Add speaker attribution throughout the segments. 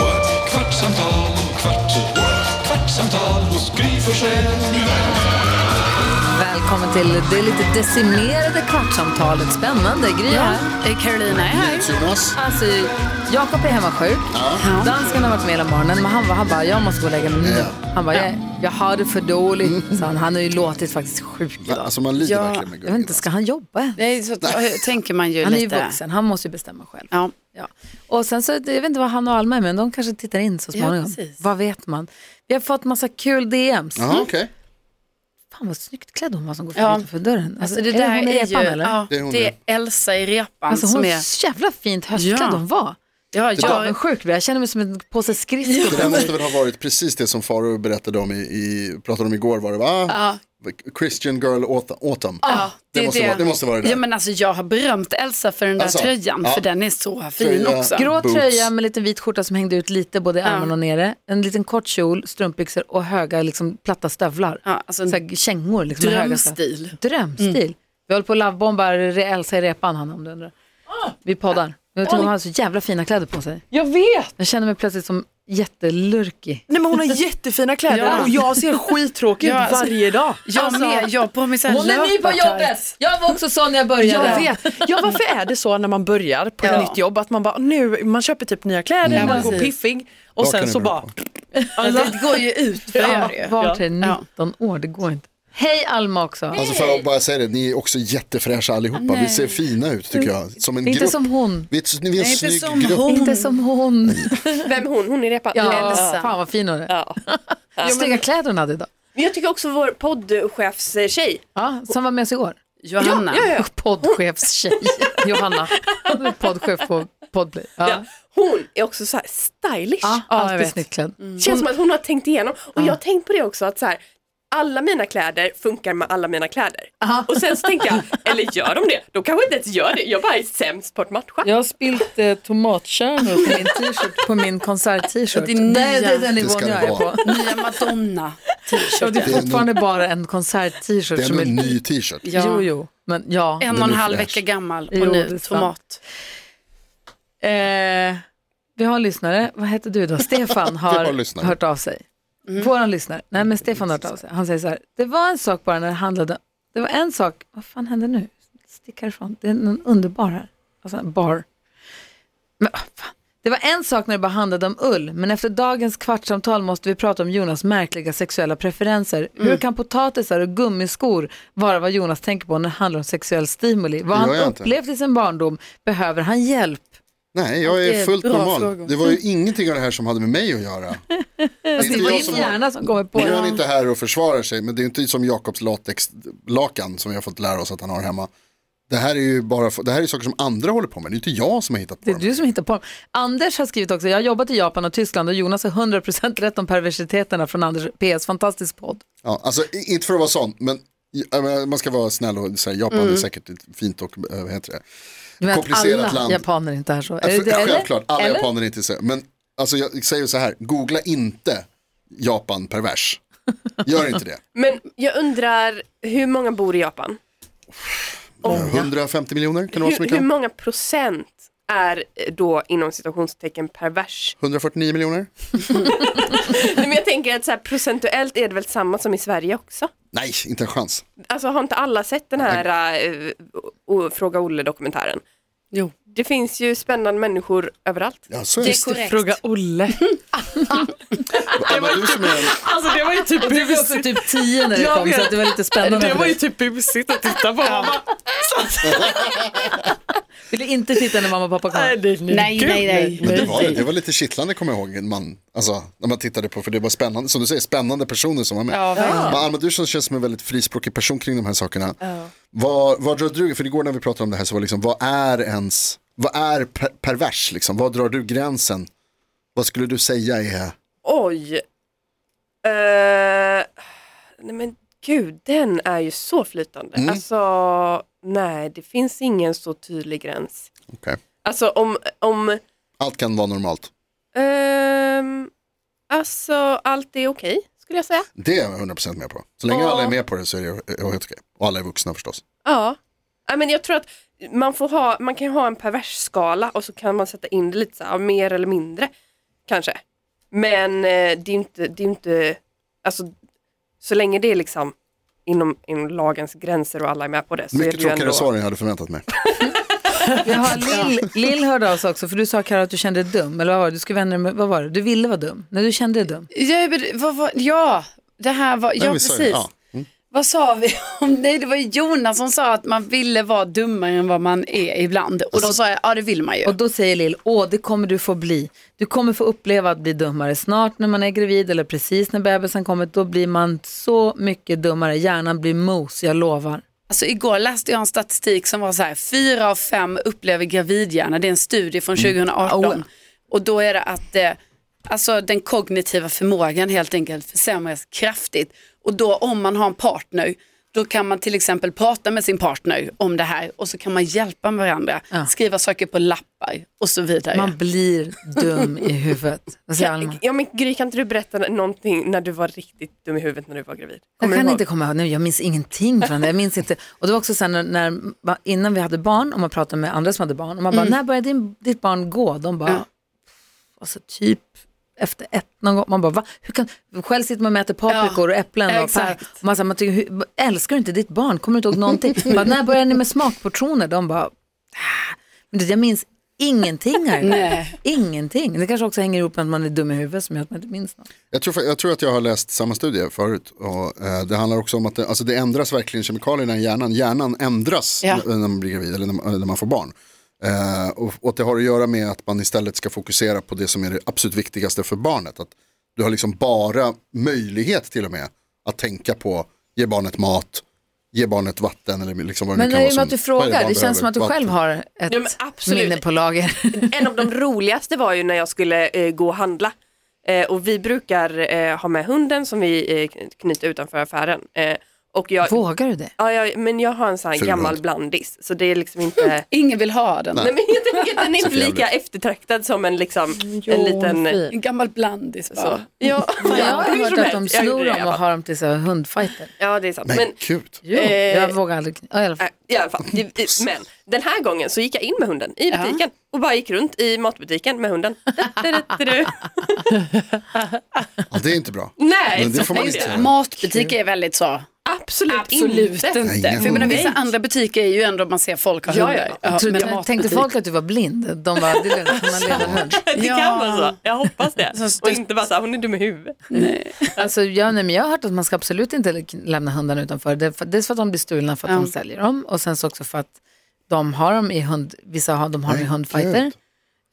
Speaker 1: what? kvartsamtal, kvart, what? kvartsamtal hos Gry Forssell med vänner.
Speaker 2: Välkommen till det lite decimerade kvartsamtalet. Spännande. Gry är här.
Speaker 3: Eh, Carolina är här.
Speaker 4: Jonas.
Speaker 2: Alltså, Jakob är hemmasjuk. Dansken har varit med hela morgonen, men han, var- han bara, jag måste gå och lägga mig nu. Han bara, jag, jag har det för
Speaker 3: Mm.
Speaker 2: dåligt. Så han, han har ju låtit faktiskt sjuk idag.
Speaker 5: Alltså man lider
Speaker 3: Ja,
Speaker 5: verkligen med
Speaker 2: Jag vet
Speaker 5: gurkan.
Speaker 2: inte, ska han jobba?
Speaker 3: Nej, så tänker man ju
Speaker 2: Han är ju
Speaker 3: alltså. lite.
Speaker 2: vuxen, han måste ju bestämma själv.
Speaker 3: Ja.
Speaker 2: Ja. Och sen så, jag vet inte vad han och Alma är men de kanske tittar in så småningom.
Speaker 3: precis.
Speaker 2: vad vet man? Vi har fått massa kul DMs.
Speaker 5: Jaha, okej.
Speaker 2: Fan vad snyggt klädd hon var som går
Speaker 3: Ja.
Speaker 2: ja. utanför dörren. Alltså,
Speaker 3: Alltså det
Speaker 2: är
Speaker 3: där
Speaker 2: det hon i
Speaker 3: är ju,
Speaker 2: repan eller?
Speaker 3: ja,
Speaker 5: Det är hon
Speaker 3: det är Elsa i repan
Speaker 2: Alltså
Speaker 3: som
Speaker 2: hon,
Speaker 3: är,
Speaker 2: så jävla fint höstklädd
Speaker 3: Ja.
Speaker 2: hon var.
Speaker 3: ja,
Speaker 2: Jag var
Speaker 3: jag,
Speaker 2: sjuk, jag känner mig som en påse skridskor.
Speaker 5: Det där måste väl ha varit precis det som Faro berättade om i, i pratade om igår var det va? Christian Girl Autumn. Autumn. det, måste Vara, det måste vara det där.
Speaker 3: Ja, men alltså, jag har berömt Elsa för den där
Speaker 5: Alltså,
Speaker 3: tröjan,
Speaker 5: ja. eh,
Speaker 3: för den är så fin
Speaker 5: Tröja.
Speaker 3: också.
Speaker 2: Grå
Speaker 5: Boots.
Speaker 2: tröja med liten vit skjorta som hängde ut lite både i armarna och nere. En liten kort kjol, strumpbyxor och höga liksom, platta stövlar.
Speaker 3: Ja, alltså en
Speaker 2: så här, kängor liksom. med höga stövlar.
Speaker 3: Drömstil.
Speaker 2: Drömstil. Vi håller på att labbombar Re- Elsa i repan han om du undrar. Vi poddar. Jag tror hon har så jävla fina kläder på sig.
Speaker 6: Jag vet!
Speaker 2: Jag känner mig plötsligt som jättelurkig.
Speaker 6: Nej men hon har jättefina kläder
Speaker 3: Ja.
Speaker 6: och jag ser skittråkig ut
Speaker 3: Ja, alltså-
Speaker 6: varje dag.
Speaker 3: Jag med, jag har på mig så här löpartajt.
Speaker 2: Jag var också sån när jag började.
Speaker 6: Jag vet. Ja, varför är det så när man börjar på ett nytt jobb att man bara nu, man köper typ nya kläder, man går
Speaker 3: precis.
Speaker 6: piffig och
Speaker 5: Vad kan
Speaker 6: sen
Speaker 5: det
Speaker 6: så
Speaker 5: bero
Speaker 6: bara,
Speaker 3: Det går ju ut för
Speaker 6: Ja.
Speaker 3: ja. det ju.
Speaker 2: Vart är
Speaker 3: Ja.
Speaker 2: 19 år? Det går inte. Hej Alma också.
Speaker 5: Alltså för att bara säga det, ni är också jättefräscha allihopa. Vi ser fina ut tycker jag. Som en
Speaker 2: Inte
Speaker 5: grupp.
Speaker 2: som hon.
Speaker 5: Vi är, ett- vi är en
Speaker 3: Nej, inte
Speaker 5: snygg
Speaker 3: som
Speaker 5: grupp.
Speaker 3: hon.
Speaker 2: Inte som hon.
Speaker 7: Vem hon? Hon är repa.
Speaker 2: Ja,
Speaker 3: Elsa.
Speaker 2: Fan vad fin hon är.
Speaker 7: Ja.
Speaker 2: Snygga kläder hon hade idag.
Speaker 7: Men jag tycker också vår poddchefs eh, tjej.
Speaker 2: Ja, som var med oss igår.
Speaker 3: Johanna.
Speaker 7: Ja, ja, ja.
Speaker 2: Poddchefstjej. Johanna. Hon är Poddchef på Podplay. Ja. Ja.
Speaker 7: Hon är också så här stylish.
Speaker 2: alltid snyggt klädd.
Speaker 7: Känns
Speaker 3: Mm.
Speaker 7: som att hon har tänkt igenom. Och jag har tänkt på det också att så här, alla mina kläder funkar med alla mina kläder. Och sen så tänkte jag, eller gör de det? De kanske inte ens gör det. Jag bara är sämst på att matcha.
Speaker 6: jag har spilt eh, tomatkärnor.
Speaker 2: på min t-shirt, på min konsert-t-shirt.
Speaker 3: Det är nya.
Speaker 2: Nej, det är den
Speaker 5: Det
Speaker 2: nivån
Speaker 5: ska det
Speaker 2: jag är
Speaker 5: vara.
Speaker 2: på.
Speaker 3: Nya Madonna.
Speaker 2: Ja, det
Speaker 5: Det är
Speaker 2: är fortfarande bara en konsert-t-shirt
Speaker 5: Det är
Speaker 2: som
Speaker 5: ändå
Speaker 2: är...
Speaker 5: en ny t-shirt.
Speaker 3: Ja.
Speaker 2: Jo, jo, men ja.
Speaker 3: En
Speaker 5: Den
Speaker 3: och en
Speaker 5: är
Speaker 3: halv
Speaker 5: fräsch.
Speaker 3: vecka gammal och
Speaker 2: Jo, det är
Speaker 3: nu
Speaker 2: sant.
Speaker 3: tomat.
Speaker 2: Eh, vi har en lyssnare, vad heter du då? Stefan
Speaker 5: Vi har en
Speaker 2: har
Speaker 5: lyssnare. Mm.
Speaker 2: hört av sig. Våran lyssnare, nej men Stefan har hört av sig. Han säger så här, det var en sak bara när det handlade, det var en sak, vad fan hände nu? Stick härifrån, det är någon underbar här. Alltså en bar. Men, ah, fan. Det var en sak när det bara handlade om ull, men efter dagens kvartssamtal måste vi prata om Jonas märkliga sexuella preferenser.
Speaker 5: Mm.
Speaker 2: Hur kan potatisar och gummiskor vara vad Jonas tänker på när det handlar om sexuell stimuli? Vad
Speaker 5: Det
Speaker 2: han
Speaker 5: gör jag inte.
Speaker 2: upplevt i sin barndom, behöver han hjälp?
Speaker 5: Nej, jag är fullt
Speaker 3: bra
Speaker 5: normal.
Speaker 3: frågor.
Speaker 5: Det var ju ingenting av det här som hade med mig att göra. Det är inte
Speaker 2: Det var
Speaker 5: jag
Speaker 2: din
Speaker 5: som-
Speaker 2: hjärna som kommer på
Speaker 5: Nu är
Speaker 2: det.
Speaker 5: han inte här och försvarar sig, men det är inte som Jakobs latexlakan som vi har fått lära oss att han har hemma. Det här är ju bara, det här är saker som andra håller på med, det är inte jag som har hittat på
Speaker 2: Det är
Speaker 5: dem.
Speaker 2: du som hittar på dem. Anders har skrivit också, jag har jobbat i Japan och Tyskland och Jonas har 100% rätt om perversiteterna från Anders PS, fantastisk podd.
Speaker 5: Ja, alltså, i- inte för att vara sån, men jag menar, man ska vara snäll och säga Japan är säkert ett fint och, eh, vad heter det,
Speaker 2: Du menar Mm. att
Speaker 5: komplicerat
Speaker 2: alla
Speaker 5: land.
Speaker 2: japaner inte är så?
Speaker 5: Ja,
Speaker 2: Är det
Speaker 5: för-
Speaker 2: det, eller?
Speaker 5: Alltså, Självklart, alla
Speaker 2: eller?
Speaker 5: japaner är inte så. Men alltså, jag säger så här, googla inte Japan pervers. Gör inte det.
Speaker 7: Men jag undrar, hur många bor i Japan?
Speaker 5: 150 Eh, miljoner, kan det vara så
Speaker 7: Hur, hur
Speaker 5: mycket?
Speaker 7: många procent är eh, då inom citationstecken pervers?
Speaker 5: 149 miljoner?
Speaker 7: Nej, men jag tänker att så här, procentuellt är det väl samma som i Sverige också?
Speaker 5: Nej, inte en chans.
Speaker 7: Alltså har inte alla sett den här eh, o- Fråga Olle-dokumentären?
Speaker 3: Jo.
Speaker 7: Det finns ju spännande människor överallt.
Speaker 5: Ja, så är det.
Speaker 3: korrekt.
Speaker 6: Fråga Olle.
Speaker 5: Ja, men du som är en
Speaker 6: Alltså det var ju typ
Speaker 2: Du var också
Speaker 6: busigt.
Speaker 2: typ 10 när det
Speaker 6: Jag
Speaker 2: kom så
Speaker 6: vet.
Speaker 2: att det var lite spännande.
Speaker 6: Det
Speaker 2: för
Speaker 6: var ju
Speaker 2: dig.
Speaker 6: typ busigt att titta på. Man bara,
Speaker 2: Ville inte titta när mamma och pappa kom.
Speaker 6: nej,
Speaker 3: Nej,
Speaker 6: gud,
Speaker 3: nej, nej.
Speaker 5: Men det, var, det var lite kittlande kommer jag ihåg man, alltså, när man tittade på, för det var spännande, som du säger, spännande personer som var med.
Speaker 3: Ja, verkligen.
Speaker 5: Men Alma Dursson känns som en väldigt frispråkig person kring de här sakerna. Vad, vad drar du, för igår när vi pratade om det här så var liksom, vad är ens, vad är per pervers liksom? Vad drar du gränsen? Vad skulle du säga är,
Speaker 7: Oj. Eh, nej men gud, den är ju så flytande.
Speaker 5: Mm.
Speaker 7: Alltså, nej det finns ingen så tydlig gräns.
Speaker 5: Okej.
Speaker 7: Alltså om, om
Speaker 5: Allt kan vara normalt.
Speaker 7: ehm, alltså allt är okej skulle jag säga.
Speaker 5: Det är jag 100% med på. Så länge
Speaker 7: Ja.
Speaker 5: alla är med på det så är det helt okej. Och alla är vuxna förstås.
Speaker 7: Ja. Nej, men jag tror att man, får ha, man kan ha en pervers skala och så kan man sätta in det lite så här, mer eller mindre kanske. Men eh, det är ju inte, det är ju inte alltså, så länge det är liksom inom, inom lagens gränser och alla är med på det så är
Speaker 5: Mycket
Speaker 7: det ju
Speaker 5: tråkigare
Speaker 7: ändå...
Speaker 5: svar än jag hade förväntat mig.
Speaker 2: Vi har Lill, Lill hörde av sig också, för du sa Karo att du kände dig dum, eller vad var det? Du skulle vända dig med, vad var det? Du ville vara dum, när du kände dig dum.
Speaker 3: Ja, men vad var, ja, det här var, ja
Speaker 5: vi sa ju-
Speaker 3: precis.
Speaker 5: ja. Mm.
Speaker 3: Vad sa vi om, nej det var ju Jonas som sa att man ville vara dummare än vad man är ibland. Och
Speaker 5: Alltså-
Speaker 3: då sa jag, ja det vill man ju.
Speaker 2: Och då säger Lill, åh det kommer du få bli. Du kommer få uppleva att bli dummare snart när man är gravid eller precis när bebisen kommer, då blir man så mycket dummare. Hjärnan blir mos, jag lovar.
Speaker 3: Alltså igår läste jag en statistik som var så här, fyra av fem upplever gravidhjärna, det är en studie från 2018.
Speaker 2: Oh.
Speaker 3: Och då är det att eh, alltså, den kognitiva förmågan helt enkelt försämras kraftigt. Och då om man har en partner, då kan man till exempel prata med sin partner om det här och så kan man hjälpa varandra,
Speaker 2: Ja.
Speaker 3: skriva saker på lappar och så vidare.
Speaker 2: Man blir dum i huvudet. Vad säger Alma?
Speaker 7: Ja men Gry, kan inte du berätta någonting när du var riktigt dum i huvudet när du var gravid?
Speaker 2: Jag
Speaker 7: du
Speaker 2: kan
Speaker 7: ihåg?
Speaker 2: inte komma ihåg, nej, jag minns ingenting från det. Jag minns inte. Och det var också sen när, när, innan vi hade barn, och man pratade med andra som hade barn, och man bara, när började din, ditt barn gå? De bara,
Speaker 3: Ja.
Speaker 2: alltså typ efter ett någon gång. Man bara, va? Hur kan, själv sitter man och mäter paprikor och äpplen och pär,
Speaker 3: exakt.
Speaker 2: och man, säger, man tycker, hur, älskar du inte ditt barn? Kommer du inte ihåg någonting? bara, när började ni med smakportioner? De bara, "Ah." men det, jag minns ingenting här.
Speaker 3: Nej.
Speaker 2: ingenting. Det kanske också hänger ihop med att man är dum i huvudet som gör att man inte minns något.
Speaker 5: Jag tror, jag tror att jag har läst samma studie förut. Och, eh, det handlar också om att det, alltså det ändras verkligen kemikalierna i hjärnan. Hjärnan ändras
Speaker 3: Ja.
Speaker 5: när när man blir gravid eller när man, när man får barn. Eh, och, och det har att göra med att man istället ska fokusera på det som är det absolut viktigaste för barnet. Att du har liksom bara möjlighet till och med att tänka på ge barnet mat, ge barnet vatten eller liksom vad det
Speaker 2: Men
Speaker 5: nu
Speaker 2: det
Speaker 5: kan
Speaker 2: är
Speaker 5: vara.
Speaker 2: ju med att du
Speaker 5: som- vad är
Speaker 2: frågar,
Speaker 5: barn
Speaker 2: det känns som att du
Speaker 5: behöver?
Speaker 2: själv
Speaker 5: Vatten.
Speaker 2: har ett
Speaker 7: Ja, men absolut.
Speaker 2: minne på lager.
Speaker 7: en av de roligaste var ju när jag skulle eh, gå och handla. Eh, och vi brukar eh, ha med hunden som vi eh, knyter utanför affären. Eh, och jag,
Speaker 2: Vågar du det?
Speaker 7: ja, jag, men jag har en sån här
Speaker 5: Ful
Speaker 7: gammal
Speaker 5: hund.
Speaker 7: blandis så det är liksom inte
Speaker 3: Ingen vill ha den.
Speaker 7: Nej men jag tänker att den är inte
Speaker 5: Så jävligt.
Speaker 7: lika eftertraktad som en liksom en liten eh,
Speaker 3: En gammal blandis
Speaker 7: så.
Speaker 3: bara.
Speaker 7: Ja,
Speaker 2: Jag har
Speaker 7: hur
Speaker 2: hört
Speaker 7: som
Speaker 2: att de
Speaker 7: helst. Jag
Speaker 2: snor
Speaker 7: gjorde det i
Speaker 2: dem
Speaker 7: alla
Speaker 2: och
Speaker 7: fall.
Speaker 2: har dem till så här hundfighter.
Speaker 7: Ja det är sant.
Speaker 5: Nej,
Speaker 7: Men
Speaker 5: gud.
Speaker 2: Jo,
Speaker 7: Eh,
Speaker 2: jag vågar aldrig. Ja, i alla fall.
Speaker 7: Nej, I alla fall. Det- det- Men den här gången så gick jag in med hunden i butiken och bara gick runt i matbutiken med hunden.
Speaker 5: Ja, det är inte bra.
Speaker 7: Nej,
Speaker 5: Men det får man
Speaker 7: nej,
Speaker 5: inte göra.
Speaker 3: Alltså, Matbutik är väldigt så.
Speaker 7: absolut,
Speaker 3: Absolut inte.
Speaker 5: Nej,
Speaker 3: För jag menar,
Speaker 5: nej.
Speaker 3: vissa andra butiker är ju ändå man ser folk ha
Speaker 7: Ja, ja.
Speaker 3: hundar.
Speaker 2: Jag trodde-
Speaker 3: men
Speaker 2: jag
Speaker 3: matbutik-
Speaker 2: tänkte folk att du var blind? De bara, det är lugnt, man lever hund.
Speaker 7: Det
Speaker 3: Ja.
Speaker 7: kan vara så. Jag hoppas det.
Speaker 3: Så
Speaker 7: Och inte bara så här, hon är dum i huvudet.
Speaker 2: Alltså, jag, nej, men jag har hört att man ska absolut inte k- lämna hundarna utanför. Det, är för, dels för att de blir stulna för att de säljer dem och sen så också för att de har dem i hund, vissa har, de har dem i
Speaker 5: Nej,
Speaker 2: hundfighter.
Speaker 5: gud.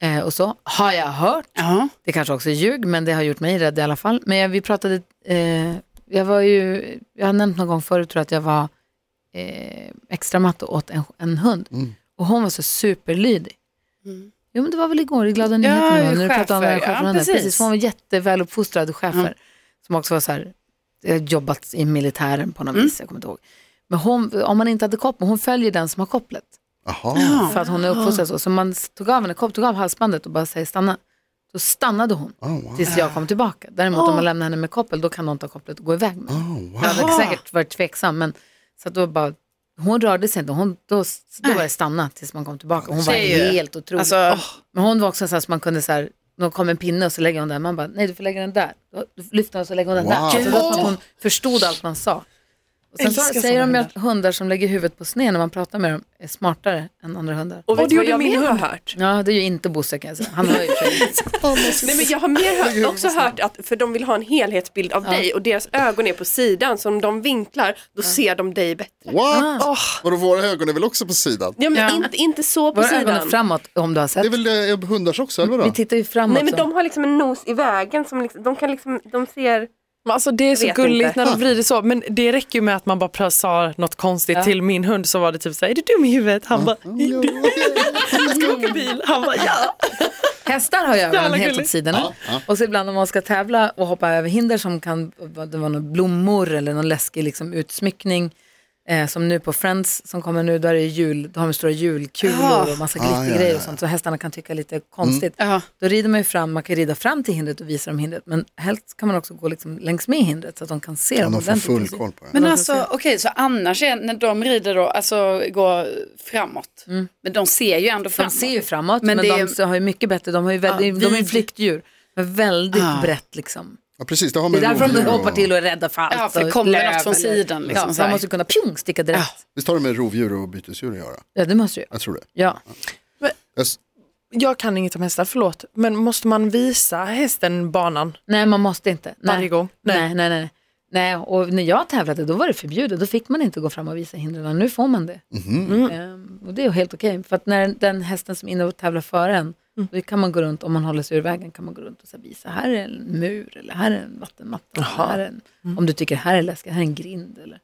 Speaker 2: Eh, och så har jag hört.
Speaker 3: Ja.
Speaker 2: Det kanske också är ljug, men det har gjort mig rädd i alla fall. Men jag, vi pratade, eh, jag var ju, jag har nämnt någon gång förut tror jag att jag var eh, extra matt och åt en, en hund. Och hon var så superlydig.
Speaker 3: Mm.
Speaker 2: Jo men det var väl igår i Glada nyheterna va? när du pratade om
Speaker 3: schäfer.
Speaker 2: den här
Speaker 3: Ja,
Speaker 2: schäferhunden.
Speaker 3: precis. Mm.
Speaker 2: precis, hon var jätteväl uppfostrad schäfer. Som också var så här, eh, jobbat i militären på något
Speaker 3: Mm.
Speaker 2: vis, jag kommer inte ihåg. Men hon, om man inte hade koppel, hon följer den som har kopplet.
Speaker 5: Jaha,
Speaker 2: För att hon är uppfostrad så. Så man tog av henne, kom, tog av halsbandet och bara säger stanna. Då stannade hon
Speaker 5: oh, wow.
Speaker 2: tills jag kom tillbaka. Däremot
Speaker 3: Ah.
Speaker 2: om man lämnar henne med koppel, då kan någon ta kopplet och gå iväg med
Speaker 5: Oh, wow.
Speaker 2: Jag hade säkert varit tveksam, men så att då bara, hon rörde sig inte. Hon, då, då var det stanna tills man kom tillbaka. Hon var
Speaker 3: Det är ju-
Speaker 2: helt otrolig.
Speaker 3: Alltså,
Speaker 2: Men hon var också så här så man kunde så här, då kom en pinne och så lägger hon den. Man bara, nej du får lägga den där. Då lyfter hon och så lägger hon den
Speaker 5: Wow.
Speaker 2: där. Så det var som att
Speaker 3: Åh.
Speaker 2: hon förstod allt man sa. Och sen så
Speaker 3: Älskar
Speaker 2: säger de
Speaker 3: såna
Speaker 2: ju att hundar som lägger huvudet på sned när man pratar med dem är smartare än andra hundar.
Speaker 7: Och vet du vad jag mer har hört?
Speaker 2: Ja, det är ju inte Bosse kan jag säga. Han har ju
Speaker 7: Nej, men jag har mer hört, också hört att, för de vill ha en helhetsbild av dig och deras ögon är på sidan, så om de vinklar då ser de dig bättre.
Speaker 5: What?
Speaker 2: Ah.
Speaker 5: Vadå, våra ögon är väl också på sidan?
Speaker 7: Ja men Inte, inte så på
Speaker 2: Våra ögon är
Speaker 7: sidan.
Speaker 2: framåt om du har
Speaker 5: Det är
Speaker 2: sett.
Speaker 5: väl eh, hundars också, eller vadå?
Speaker 2: Vi tittar ju framåt.
Speaker 7: Nej men
Speaker 2: så.
Speaker 7: de har liksom en nos i vägen som liksom, de kan liksom, de ser
Speaker 6: Men Alltså det är så
Speaker 7: vet
Speaker 6: gulligt
Speaker 7: inte.
Speaker 6: när de vrider så, men det räcker ju med att man bara pra- sa något konstigt till min hund så var det typ så här, är du dum i huvudet? Han bara, jag ska åka bil. Han bara, ja.
Speaker 2: Hästar har ju ögonen
Speaker 6: Jävla
Speaker 2: helt åt
Speaker 6: gulligt.
Speaker 2: sidorna. Och så ibland om man ska tävla och hoppa över hinder som kan vara det var några blommor eller någon läskig liksom, utsmyckning. Eh, som nu på Friends som kommer nu, där är det jul, då har de stora julkulor och
Speaker 5: Ah,
Speaker 2: massa glittergrejer och sånt. Så hästarna kan tycka lite konstigt.
Speaker 3: Ja.
Speaker 2: Då rider man ju fram, man kan ju rida fram till hindret och visa dem hindret. Men helst kan man också gå liksom längs med hindret så att de kan se
Speaker 5: Ja,
Speaker 2: dem
Speaker 5: de får full
Speaker 2: ordentligt.
Speaker 5: koll på det.
Speaker 3: Men alltså okej, så annars är, när de rider då, alltså går framåt. Men de ser ju ändå
Speaker 2: De
Speaker 3: framåt.
Speaker 2: ser ju framåt, men,
Speaker 3: Men det är-
Speaker 2: de har ju mycket bättre, de har ju väldigt, de är ju
Speaker 3: vid-
Speaker 2: flyktdjur. Men väldigt
Speaker 3: Ja.
Speaker 2: brett liksom.
Speaker 5: Ja, precis, det har
Speaker 2: Det
Speaker 5: man
Speaker 2: är därför de
Speaker 5: rovdjur
Speaker 2: hoppar
Speaker 5: och-
Speaker 2: till och är rädda för allt.
Speaker 3: Ja, för det
Speaker 2: och
Speaker 3: kommer
Speaker 2: löv
Speaker 3: något från
Speaker 2: eller-
Speaker 3: sidan, liksom,
Speaker 2: ja,
Speaker 3: så
Speaker 2: så man
Speaker 3: här.
Speaker 2: måste kunna pjong, sticka direkt.
Speaker 5: Visst har det med rovdjur och bytesdjur att göra?
Speaker 2: Ja, det måste ju.
Speaker 5: Jag tror det.
Speaker 2: Ja.
Speaker 5: Jag s-
Speaker 6: Jag kan inget om hästar, förlåt, men måste man visa hästen banan?
Speaker 2: Nej, man måste inte. Nej.
Speaker 6: Varje gång?
Speaker 2: Nej.
Speaker 6: Nej.
Speaker 2: Nej, nej, nej. Nej, och när jag tävlade då var det förbjudet. Då fick man inte gå fram och visa hindren. Nu får man det. Ehm, och det är helt okej. För att när den hästen som är inne och tävlar före en, då kan man gå runt, om man håller sig ur vägen, kan man gå runt och så här visa, här är en mur, eller här är en vattenmatta, eller här är en, om du tycker här är läskigt, här är en grind. Eller.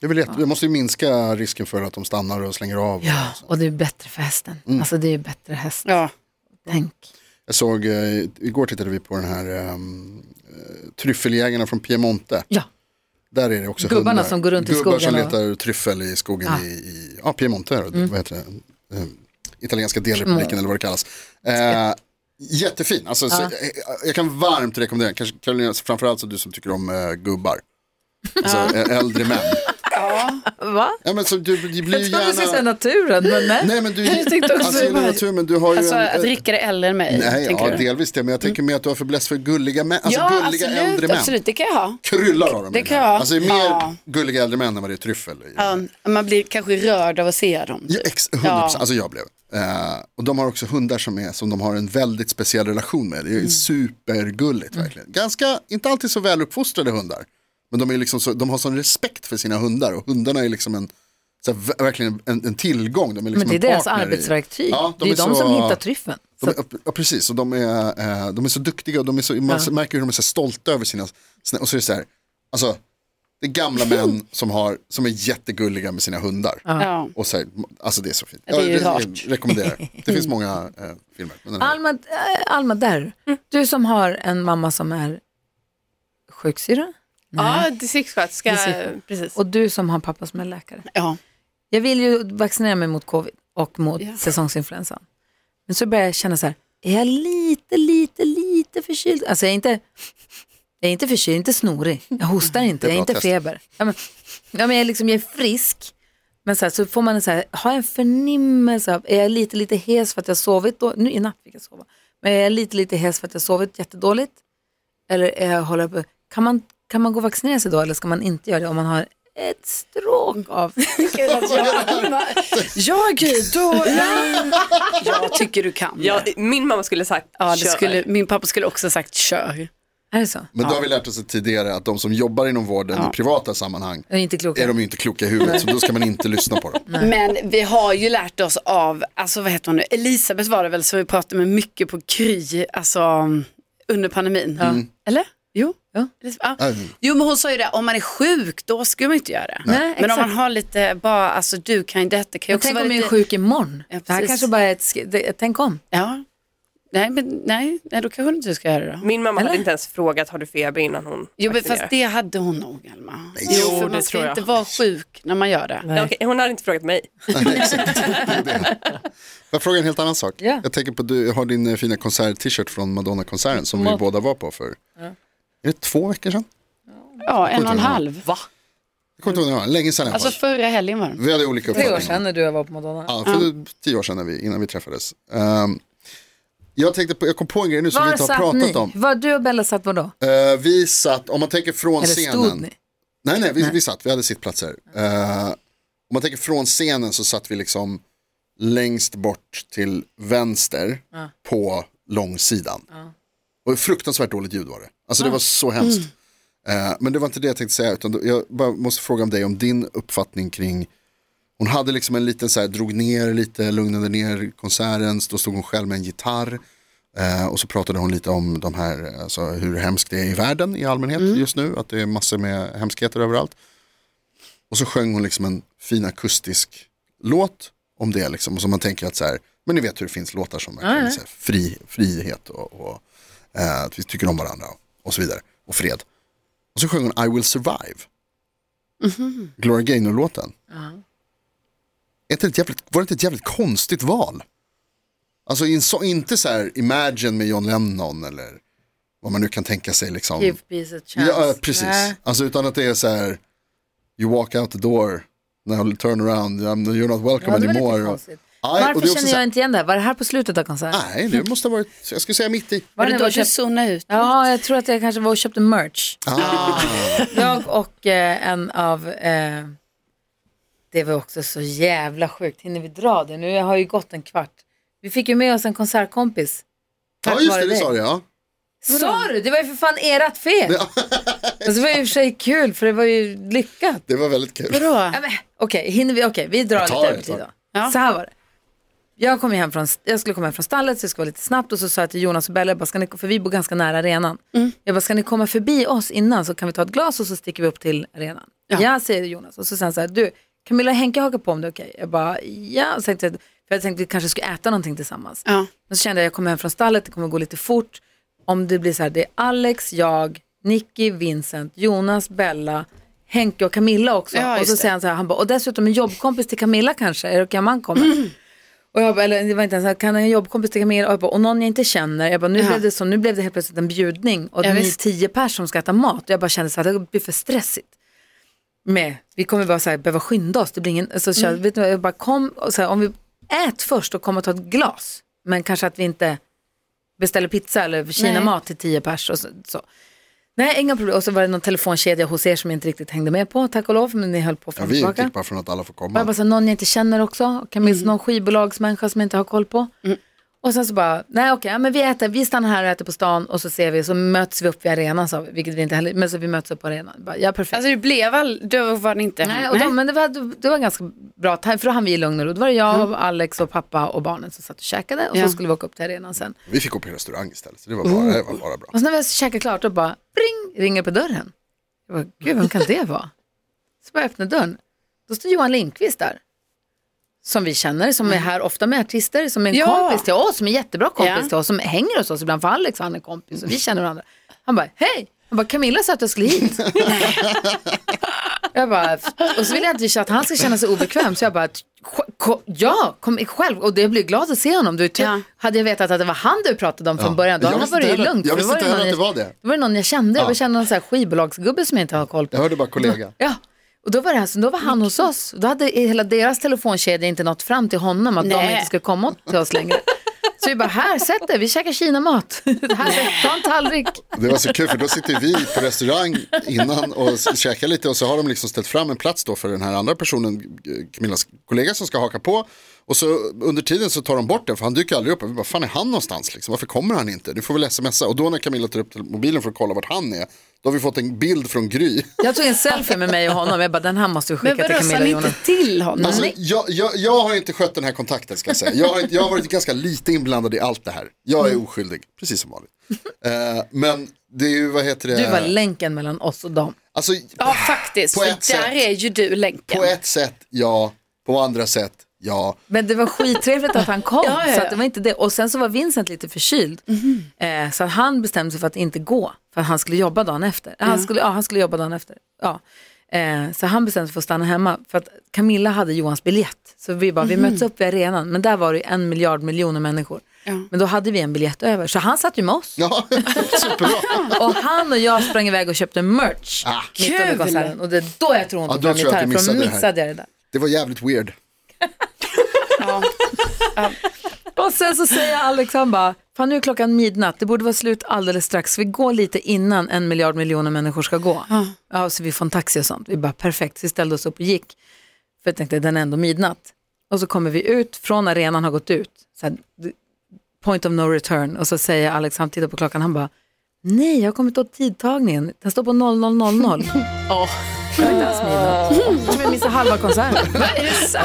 Speaker 5: Det, är väl jätte- det måste ju minska risken för att de stannar och slänger av. Och så.
Speaker 2: Och det är bättre för hästen. Alltså det är bättre häst.
Speaker 3: Ja.
Speaker 2: Tänk.
Speaker 5: Jag såg, eh, igår tittade vi på den här ehm, eh, tryffeljägarna från Piemonte.
Speaker 2: Ja.
Speaker 5: Där är det också
Speaker 2: Gubbarna
Speaker 5: hundar.
Speaker 2: som går runt i
Speaker 5: Gubbar
Speaker 2: skogen
Speaker 5: som
Speaker 2: och- Ah. Mm.
Speaker 5: letar tryffel i skogen i, i ja, Piemonte. då. Vad heter det? Eh, italienska delrepubliken eller vad det kallas. Eh, jättefin, alltså,
Speaker 2: Ah.
Speaker 5: så, eh, jag kan varmt rekommendera den. Kanske Karolina, framförallt så du som tycker om eh, gubbar. Alltså
Speaker 2: Ah.
Speaker 5: ä- äldre män.
Speaker 2: Va?
Speaker 5: Ja, men så du, du blir
Speaker 2: Jag
Speaker 5: ju
Speaker 2: trodde du skulle säga
Speaker 5: gärna...
Speaker 2: naturen, men nej.
Speaker 5: Nej men du,
Speaker 3: tänkte också
Speaker 5: alltså,
Speaker 3: bara-
Speaker 5: natur, men du har ju
Speaker 3: Alltså
Speaker 5: en,
Speaker 3: att Rickard är äldre än mig,
Speaker 5: Nej,
Speaker 3: tänker
Speaker 5: ja,
Speaker 3: du?
Speaker 5: delvis det, men jag
Speaker 2: Mm.
Speaker 5: tänker mer att du har fäbless för gulliga män, alltså
Speaker 3: ja,
Speaker 5: gulliga
Speaker 3: absolut,
Speaker 5: äldre män.
Speaker 3: absolut, det kan jag ha.
Speaker 5: Kryllar av dem.
Speaker 3: Det
Speaker 5: i
Speaker 3: kan
Speaker 5: här.
Speaker 3: jag ha.
Speaker 5: Alltså det är mer
Speaker 3: Ja.
Speaker 5: gulliga äldre män än vad det är tryffel. i den här.
Speaker 3: Ja, man blir kanske rörd av att se dem.
Speaker 5: Ja, ex, 100%,
Speaker 3: Ja.
Speaker 5: alltså jag blev. Eh, och de har också hundar som, är, som de har en väldigt speciell relation med. Det är
Speaker 2: Mm.
Speaker 5: supergulligt verkligen. Ganska, inte alltid så väl uppfostrade hundar. Men de, är liksom så, de har sån respekt för sina hundar och hundarna är liksom en, så här, ver- verkligen en, en tillgång. De är liksom
Speaker 2: Men det är
Speaker 5: en
Speaker 2: deras
Speaker 5: partner i-
Speaker 2: arbetsverktyg.
Speaker 5: Ja,
Speaker 2: det är, de
Speaker 5: så-
Speaker 2: som hittar tryffeln. Så
Speaker 5: De är, ja, precis, och de är, eh, de är så duktiga och de är så, man märker hur de är så stolta över sina, sina och så är det så här, alltså det är gamla män som, har, som är jättegulliga med sina hundar.
Speaker 3: Ja.
Speaker 5: Och så här, alltså det är så fint.
Speaker 3: Det är ju
Speaker 5: jag, re-
Speaker 3: rart.
Speaker 5: rekommenderar. Det finns många eh, filmer. Men den här-
Speaker 2: Alma, äh, Alma där. du som har en mamma som är sjuksyra
Speaker 7: Ja,
Speaker 3: Mm.
Speaker 7: distriktssköterska,
Speaker 2: Distrikt-
Speaker 7: precis.
Speaker 2: och du som har pappa som är läkare.
Speaker 3: Ja.
Speaker 2: Jag vill ju vaccinera mig mot covid och mot
Speaker 3: Ja.
Speaker 2: säsongsinfluensan. Men så börjar jag känna så här, är jag lite, lite, lite förkyld? Alltså jag är inte, jag är inte förkyld, inte snorig, jag hostar inte,
Speaker 5: Det
Speaker 2: jag
Speaker 5: är
Speaker 2: är inte
Speaker 5: bra test.
Speaker 2: feber. Ja, men, ja, men jag, är liksom, jag är frisk, men så, här, så får man en så här, har jag en förnimmelse av, är jag lite, lite hes för att jag sovit, då, nu i natt fick jag sova, men är jag lite, lite hes för att jag sovit jättedåligt? Eller är jag, håller jag på, kan man, kan man gå och vaccinera sig då eller ska man inte göra det om man har ett stråk av
Speaker 3: Ja, gud, då... Jag tycker du kan
Speaker 7: Ja,
Speaker 3: det.
Speaker 7: min mamma skulle sagt
Speaker 3: Ja, det
Speaker 7: "Kör."
Speaker 3: skulle, min pappa skulle också ha sagt kör.
Speaker 2: Är det så?
Speaker 5: Men då har vi lärt oss tidigare att de som jobbar inom vården i privata sammanhang
Speaker 2: Jag är inte klok.
Speaker 5: är de ju inte kloka i huvudet, så då ska man inte lyssna på dem.
Speaker 3: Men vi har ju lärt oss av, alltså vad heter hon nu, Elisabeth var det väl, så vi pratade med mycket på Kry, alltså under pandemin.
Speaker 7: Mm.
Speaker 3: Eller? Jo.
Speaker 2: Ja.
Speaker 3: Elis- Ja.
Speaker 5: Mm.
Speaker 3: Jo men hon sa ju det, om man är sjuk då skulle man inte göra det.
Speaker 2: Nej,
Speaker 3: men
Speaker 2: exakt.
Speaker 3: om man har lite, bara, alltså du kan ju detta, kan ju
Speaker 2: Men
Speaker 3: också
Speaker 2: tänk
Speaker 3: vara
Speaker 2: om jag
Speaker 3: lite...
Speaker 2: är sjuk imorgon.
Speaker 3: Ja,
Speaker 2: det här
Speaker 3: precis.
Speaker 2: kanske bara är ett... sk- det- Tänk om.
Speaker 3: Ja. Nej, men nej, nej, då kanske inte du ska göra det då.
Speaker 7: Min mamma
Speaker 2: Eller?
Speaker 7: hade inte ens frågat har du feber innan hon
Speaker 3: Jo, men
Speaker 7: vaccinerade.
Speaker 3: fast det hade hon nog, Alma.
Speaker 7: Jo,
Speaker 3: för
Speaker 7: det
Speaker 3: man ska
Speaker 7: tror jag.
Speaker 3: inte vara sjuk när man gör det.
Speaker 7: Ja, okej, hon hade inte frågat mig.
Speaker 5: Jag frågar en helt annan sak.
Speaker 2: Ja.
Speaker 5: Jag tänker på, du har din eh, fina konsert-t-shirt från Madonna-konserten som vi båda var på för, är det två veckor sedan?
Speaker 3: Ja, en och en
Speaker 5: ihåg.
Speaker 3: halv. Va?
Speaker 5: Jag kommer inte ihåg, när det var, länge sedan i alla
Speaker 3: Alltså
Speaker 5: fall.
Speaker 3: förra helgen var det.
Speaker 5: Vi hade olika
Speaker 2: Tre
Speaker 5: uppfattningar.
Speaker 2: år sedan när du var på Madonna.
Speaker 5: Ja, för tio år sedan när vi, innan vi träffades. Ehm, jag, tänkte på, jag kom på en grej nu som vi
Speaker 2: Var
Speaker 5: inte har
Speaker 2: satt
Speaker 5: pratat
Speaker 2: ni?
Speaker 5: om.
Speaker 2: Var du och Bella satt var då?
Speaker 5: Eh, vi satt, om man tänker från
Speaker 2: Eller stod
Speaker 5: scenen.
Speaker 2: ni?
Speaker 5: Nej, nej, vi, vi satt, vi hade sittplatser. Eh, om man tänker från scenen så satt vi liksom längst bort till vänster på långsidan. Och fruktansvärt dåligt ljud var det. Alltså det var så hemskt. Eh, men det var inte det jag tänkte säga, utan då- jag bara måste fråga om dig, om din uppfattning kring hon hade liksom en liten så här, drog ner lite, lugnade ner konserten, då stod hon själv med en gitarr. Eh, och så pratade hon lite om de här, alltså, hur hemskt det är i världen i allmänhet just nu, att det är massor med hemskheter överallt. Och så sjöng hon liksom en fin akustisk låt om det, liksom, och så man tänker att så här, men ni vet hur det finns låtar som verkligen så här, fri, frihet och, och eh, att vi tycker om varandra och så vidare, och fred. Och så sjöng hon I will survive, Gloria Gaynor-låten. Är inte det ett jävligt, var det inte ett jävligt konstigt val? Alltså i en så, inte så här Imagine med John Lennon eller vad man nu kan tänka sig liksom.
Speaker 2: Give peace a chance.
Speaker 5: Ja, eh, precis.
Speaker 2: Nej.
Speaker 5: Alltså utan att det är så här, you walk out the door, now you turn around, I'm- you're not
Speaker 2: Ja, det
Speaker 5: welcome
Speaker 2: var lite
Speaker 5: anymore. Och,
Speaker 2: konstigt.
Speaker 5: nej, och
Speaker 2: Varför
Speaker 5: det är också
Speaker 2: känner
Speaker 5: så
Speaker 2: jag
Speaker 5: här,
Speaker 2: inte igen det här? Var det här på slutet av konserten?
Speaker 5: nej, det måste ha varit, jag skulle säga mitt i.
Speaker 2: Var
Speaker 3: Var det då
Speaker 2: när jag
Speaker 3: du
Speaker 2: köpte-
Speaker 3: zonade ut?
Speaker 2: Ja, jag tror att jag kanske var och köpte merch.
Speaker 5: Ah.
Speaker 2: Jag och eh, en av, eh, det var också så jävla sjukt, hinner vi dra det? Nu har ju gått en kvart. Vi fick ju med oss en konsertkompis.
Speaker 5: Ja,
Speaker 2: Tack
Speaker 5: just
Speaker 2: vare
Speaker 5: det, det
Speaker 2: dig.
Speaker 5: sa du ja.
Speaker 2: Sa du? Det var ju för fan ert fel. Alltså, det var ju i och för sig kul för det var ju lyckat.
Speaker 5: Det var väldigt kul.
Speaker 3: Vadå?
Speaker 2: Ja, men, Okej, hinner vi? Okej, vi drar
Speaker 5: Jag tar
Speaker 2: lite
Speaker 5: det,
Speaker 2: över tid
Speaker 5: jag tar
Speaker 2: då. Så här var det. Jag, kom hem från, jag skulle komma hem från stallet så det skulle vara lite snabbt och så sa jag till Jonas och Bella, jag bara, ska ni, för vi bor ganska nära arenan. Jag bara, ska ni komma förbi oss innan så kan vi ta ett glas och så sticker vi upp till arenan. Ja, säger Jonas. Och så sen så här, du, Camilla och Henke hakar på om det är okej. Jag bara, ja. Så tänkte, jag- för jag tänkte vi kanske skulle äta någonting tillsammans.
Speaker 3: Ja.
Speaker 2: Men så kände jag, jag kommer hem från stallet, det kommer gå lite fort. Om det blir så här, det är Alex, jag, Nicky, Vincent, Jonas, Bella, Henke och Camilla också.
Speaker 3: Ja,
Speaker 2: och
Speaker 3: just
Speaker 2: så
Speaker 3: det.
Speaker 2: säger han så här, han bara, och dessutom en jobbkompis till Camilla kanske, är det okej om han kommer? Och jag bara, eller det var inte ens så här, kan en jobbkompis till Camilla? Och, jag bara, och någon jag inte känner. Jag bara, nu
Speaker 3: Ja.
Speaker 2: blev det så, nu blev det helt plötsligt en bjudning och
Speaker 3: Ja,
Speaker 2: ni
Speaker 3: visst.
Speaker 2: tio pers som ska äta mat. Och jag bara kände så här, det blir för stressigt. Med, vi kommer bara så här, behöva skynda oss. Det blir ingen, alltså, så jag, vet du, vad, jag bara kom, och så här, om vi ät först och kom och ta ett glas. Men kanske att vi inte beställer pizza eller Kina-mat till tio pers. Och så, så. Nej, inga problem. Och så var det någon telefonkedja hos er som jag inte riktigt hängde med på, tack och lov. Men ni höll på
Speaker 5: Ja,
Speaker 2: fram och
Speaker 5: vi typ
Speaker 2: tillbaka.
Speaker 5: utgick bara från att alla får
Speaker 2: Och jag bara
Speaker 5: komma.
Speaker 2: så här, någon jag inte känner också. Kan minst någon skivbolagsmänniska som jag inte har koll på. Och sen så bara, nej okej, ja, men vi äter, vi stannar här och äter på stan och så ser vi, så möts vi upp vid arenan sa vi, vilket vi inte heller, men så vi möts upp på arenan. Jag Bara, ja, perfekt.
Speaker 3: Alltså det blev all... Då var det inte...
Speaker 2: nej, och de, men det var, det var ganska bra, time, för då hann vi i lugn och ro. Då var det jag, Alex och pappa och barnen som satt och käkade och
Speaker 3: Mm. Ja.
Speaker 2: så skulle vi åka upp till arenan sen.
Speaker 5: Vi fick gå på restaurang istället, så det var
Speaker 2: Mm.
Speaker 5: bara, det var bara bra.
Speaker 2: Och sen när vi hade käkat klart då bara, ring, ringer på dörren. Jag bara, gud vem kan det vara? Så bara jag öppnar dörren. Då står Johan Lindqvist där. Som vi känner, som är här ofta med artister, som är en
Speaker 3: Mm. Ja.
Speaker 2: kompis till oss, som är en jättebra kompis
Speaker 3: Ja.
Speaker 2: till oss, som hänger hos oss ibland, för Alex och han är kompis och vi känner varandra. Han bara, hej! Han bara, Camilla sa att jag skulle hit. jag bara, och så vill jag inte att han ska känna sig obekväm, så jag bara, "Sj- ko- ja, kom själv. Och det blir glad att se honom. Du, ty-
Speaker 3: Ja.
Speaker 2: Hade jag vetat att det var han du pratade om från början, då
Speaker 5: Jag
Speaker 2: hade det
Speaker 5: visste
Speaker 2: varit
Speaker 5: heller-
Speaker 2: lugnt.
Speaker 5: jag
Speaker 2: för då
Speaker 5: visste inte
Speaker 2: någon
Speaker 5: heller att det
Speaker 2: jag-
Speaker 5: var det.
Speaker 2: då var det någon jag kände, jag kände någon så här skivbolagsgubbe som jag inte har koll på.
Speaker 5: Jag hörde bara kollega.
Speaker 2: Ja, och då var, det här, så då var han hos oss. Och Då hade hela deras telefonkedja inte nått fram till honom att de
Speaker 3: Nej.
Speaker 2: inte skulle komma åt- till oss längre. Så vi bara, här, sätt dig, vi käkar kinamat. Här, ta en tallrik.
Speaker 5: Det var så kul för då sitter vi på restaurang innan och s- käkar lite och så har de liksom ställt fram en plats då för den här andra personen, eh, Camillas kollega som ska haka på. Och så under tiden så tar de bort den för han dyker aldrig upp. Och Vi bara, fan är han någonstans liksom? Varför kommer han inte? Du får väl smsa. Och då när Camilla tar upp till- mobilen för att kolla vart han är, då har vi fått en bild från Gry.
Speaker 2: Jag tog en selfie med mig och honom, jag bara, den här måste vi
Speaker 3: Men
Speaker 2: skicka till
Speaker 3: vadå, sa
Speaker 2: Camilla
Speaker 3: ni
Speaker 2: och Jonas.
Speaker 3: inte till honom?
Speaker 5: Alltså, jag, jag, jag har inte skött den här kontakten ska jag säga. Jag har, inte- jag har varit ganska lite inblandad i allt det här. Jag
Speaker 2: Mm.
Speaker 5: är oskyldig, precis som vanligt. Eh, men det är ju, vad heter det?
Speaker 2: Du var länken mellan oss och dem.
Speaker 5: alltså,
Speaker 3: Ja, faktiskt.
Speaker 5: På
Speaker 3: För där
Speaker 5: ett sätt.
Speaker 3: är ju du länken.
Speaker 5: På ett sätt ja, på andra sätt ja.
Speaker 2: Men det var skittrevligt att han kom.
Speaker 3: Ja, ja, Mhm. ja.
Speaker 2: Så att det var inte det. Och sen så var Vincent lite förkyld. Eh, så att han bestämde sig för att inte gå. För att han skulle jobba dagen efter. Han, skulle, ja, han skulle jobba dagen efter. Ja. Eh, så han bestämde sig för att stanna hemma. För att Camilla hade Johans biljett. Så vi
Speaker 3: Mhm.
Speaker 2: bara, vi möts upp vid arenan. Men där var det ju en miljard miljoner människor. Men då hade vi en biljett över. Så han satt ju med oss.
Speaker 5: Ja, superbra.
Speaker 2: Och han och jag sprang iväg och köpte merch.
Speaker 5: Ah.
Speaker 2: mitt under
Speaker 3: Kul!
Speaker 2: konserten. Och det är då jag tror hon
Speaker 5: Ja,
Speaker 2: tog
Speaker 5: då
Speaker 2: fram
Speaker 5: tror jag att du
Speaker 2: gitarren. För då
Speaker 5: missade det här.
Speaker 2: missade jag det där.
Speaker 5: Det var jävligt weird.
Speaker 3: Ja.
Speaker 2: Och sen så säger Alex, han bara, fan nu är klockan midnatt, det borde vara slut alldeles strax, vi går lite innan en miljard miljoner människor ska gå. Ja, så vi får en taxi och sånt. Vi bara, perfekt, så vi ställde oss upp och gick. För jag tänkte, den är ändå midnatt. Och så kommer vi ut, från arenan har gått ut, så här, point of no return. Och så säger Alex, han tittar på klockan, han bara, nej, jag har kommit åt tidtagningen, den står på 00.00. Som jag missade halva konserten. Alltså,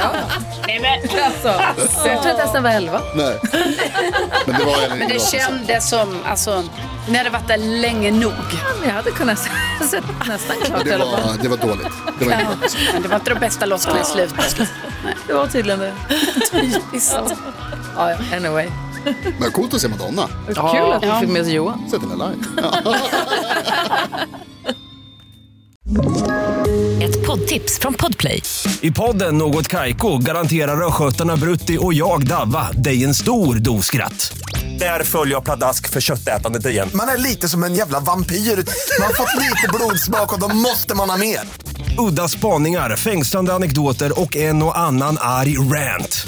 Speaker 2: jag tror att Esten var elva.
Speaker 5: Nej. Men det var en
Speaker 3: Men det
Speaker 5: gratis.
Speaker 3: kändes som, alltså, ni hade varit där länge nog.
Speaker 2: Men jag hade kunnat se- sett nästan klart i
Speaker 5: det,
Speaker 2: alla fall.
Speaker 5: var, det var dåligt. Det var inte gratis.
Speaker 3: Men det var inte de bästa låtarna i slutet.
Speaker 2: Det var tydligen det.
Speaker 3: Visst.
Speaker 2: Ja, ja, anyway.
Speaker 5: Men coolt att se Madonna.
Speaker 2: Kul att vi fick med oss Johan.
Speaker 5: Sett henne live.
Speaker 8: Ett poddtips från Podplay.
Speaker 9: I podden Något Kaiko garanterar östgötarna Brutti och jag, Davva, dig en stor dos skratt. Där följer jag pladask för köttätandet igen.
Speaker 10: Man är lite som en jävla vampyr. Man har fått lite blodsmak och då måste man ha mer.
Speaker 9: Udda spaningar, fängslande anekdoter och en och annan arg rant.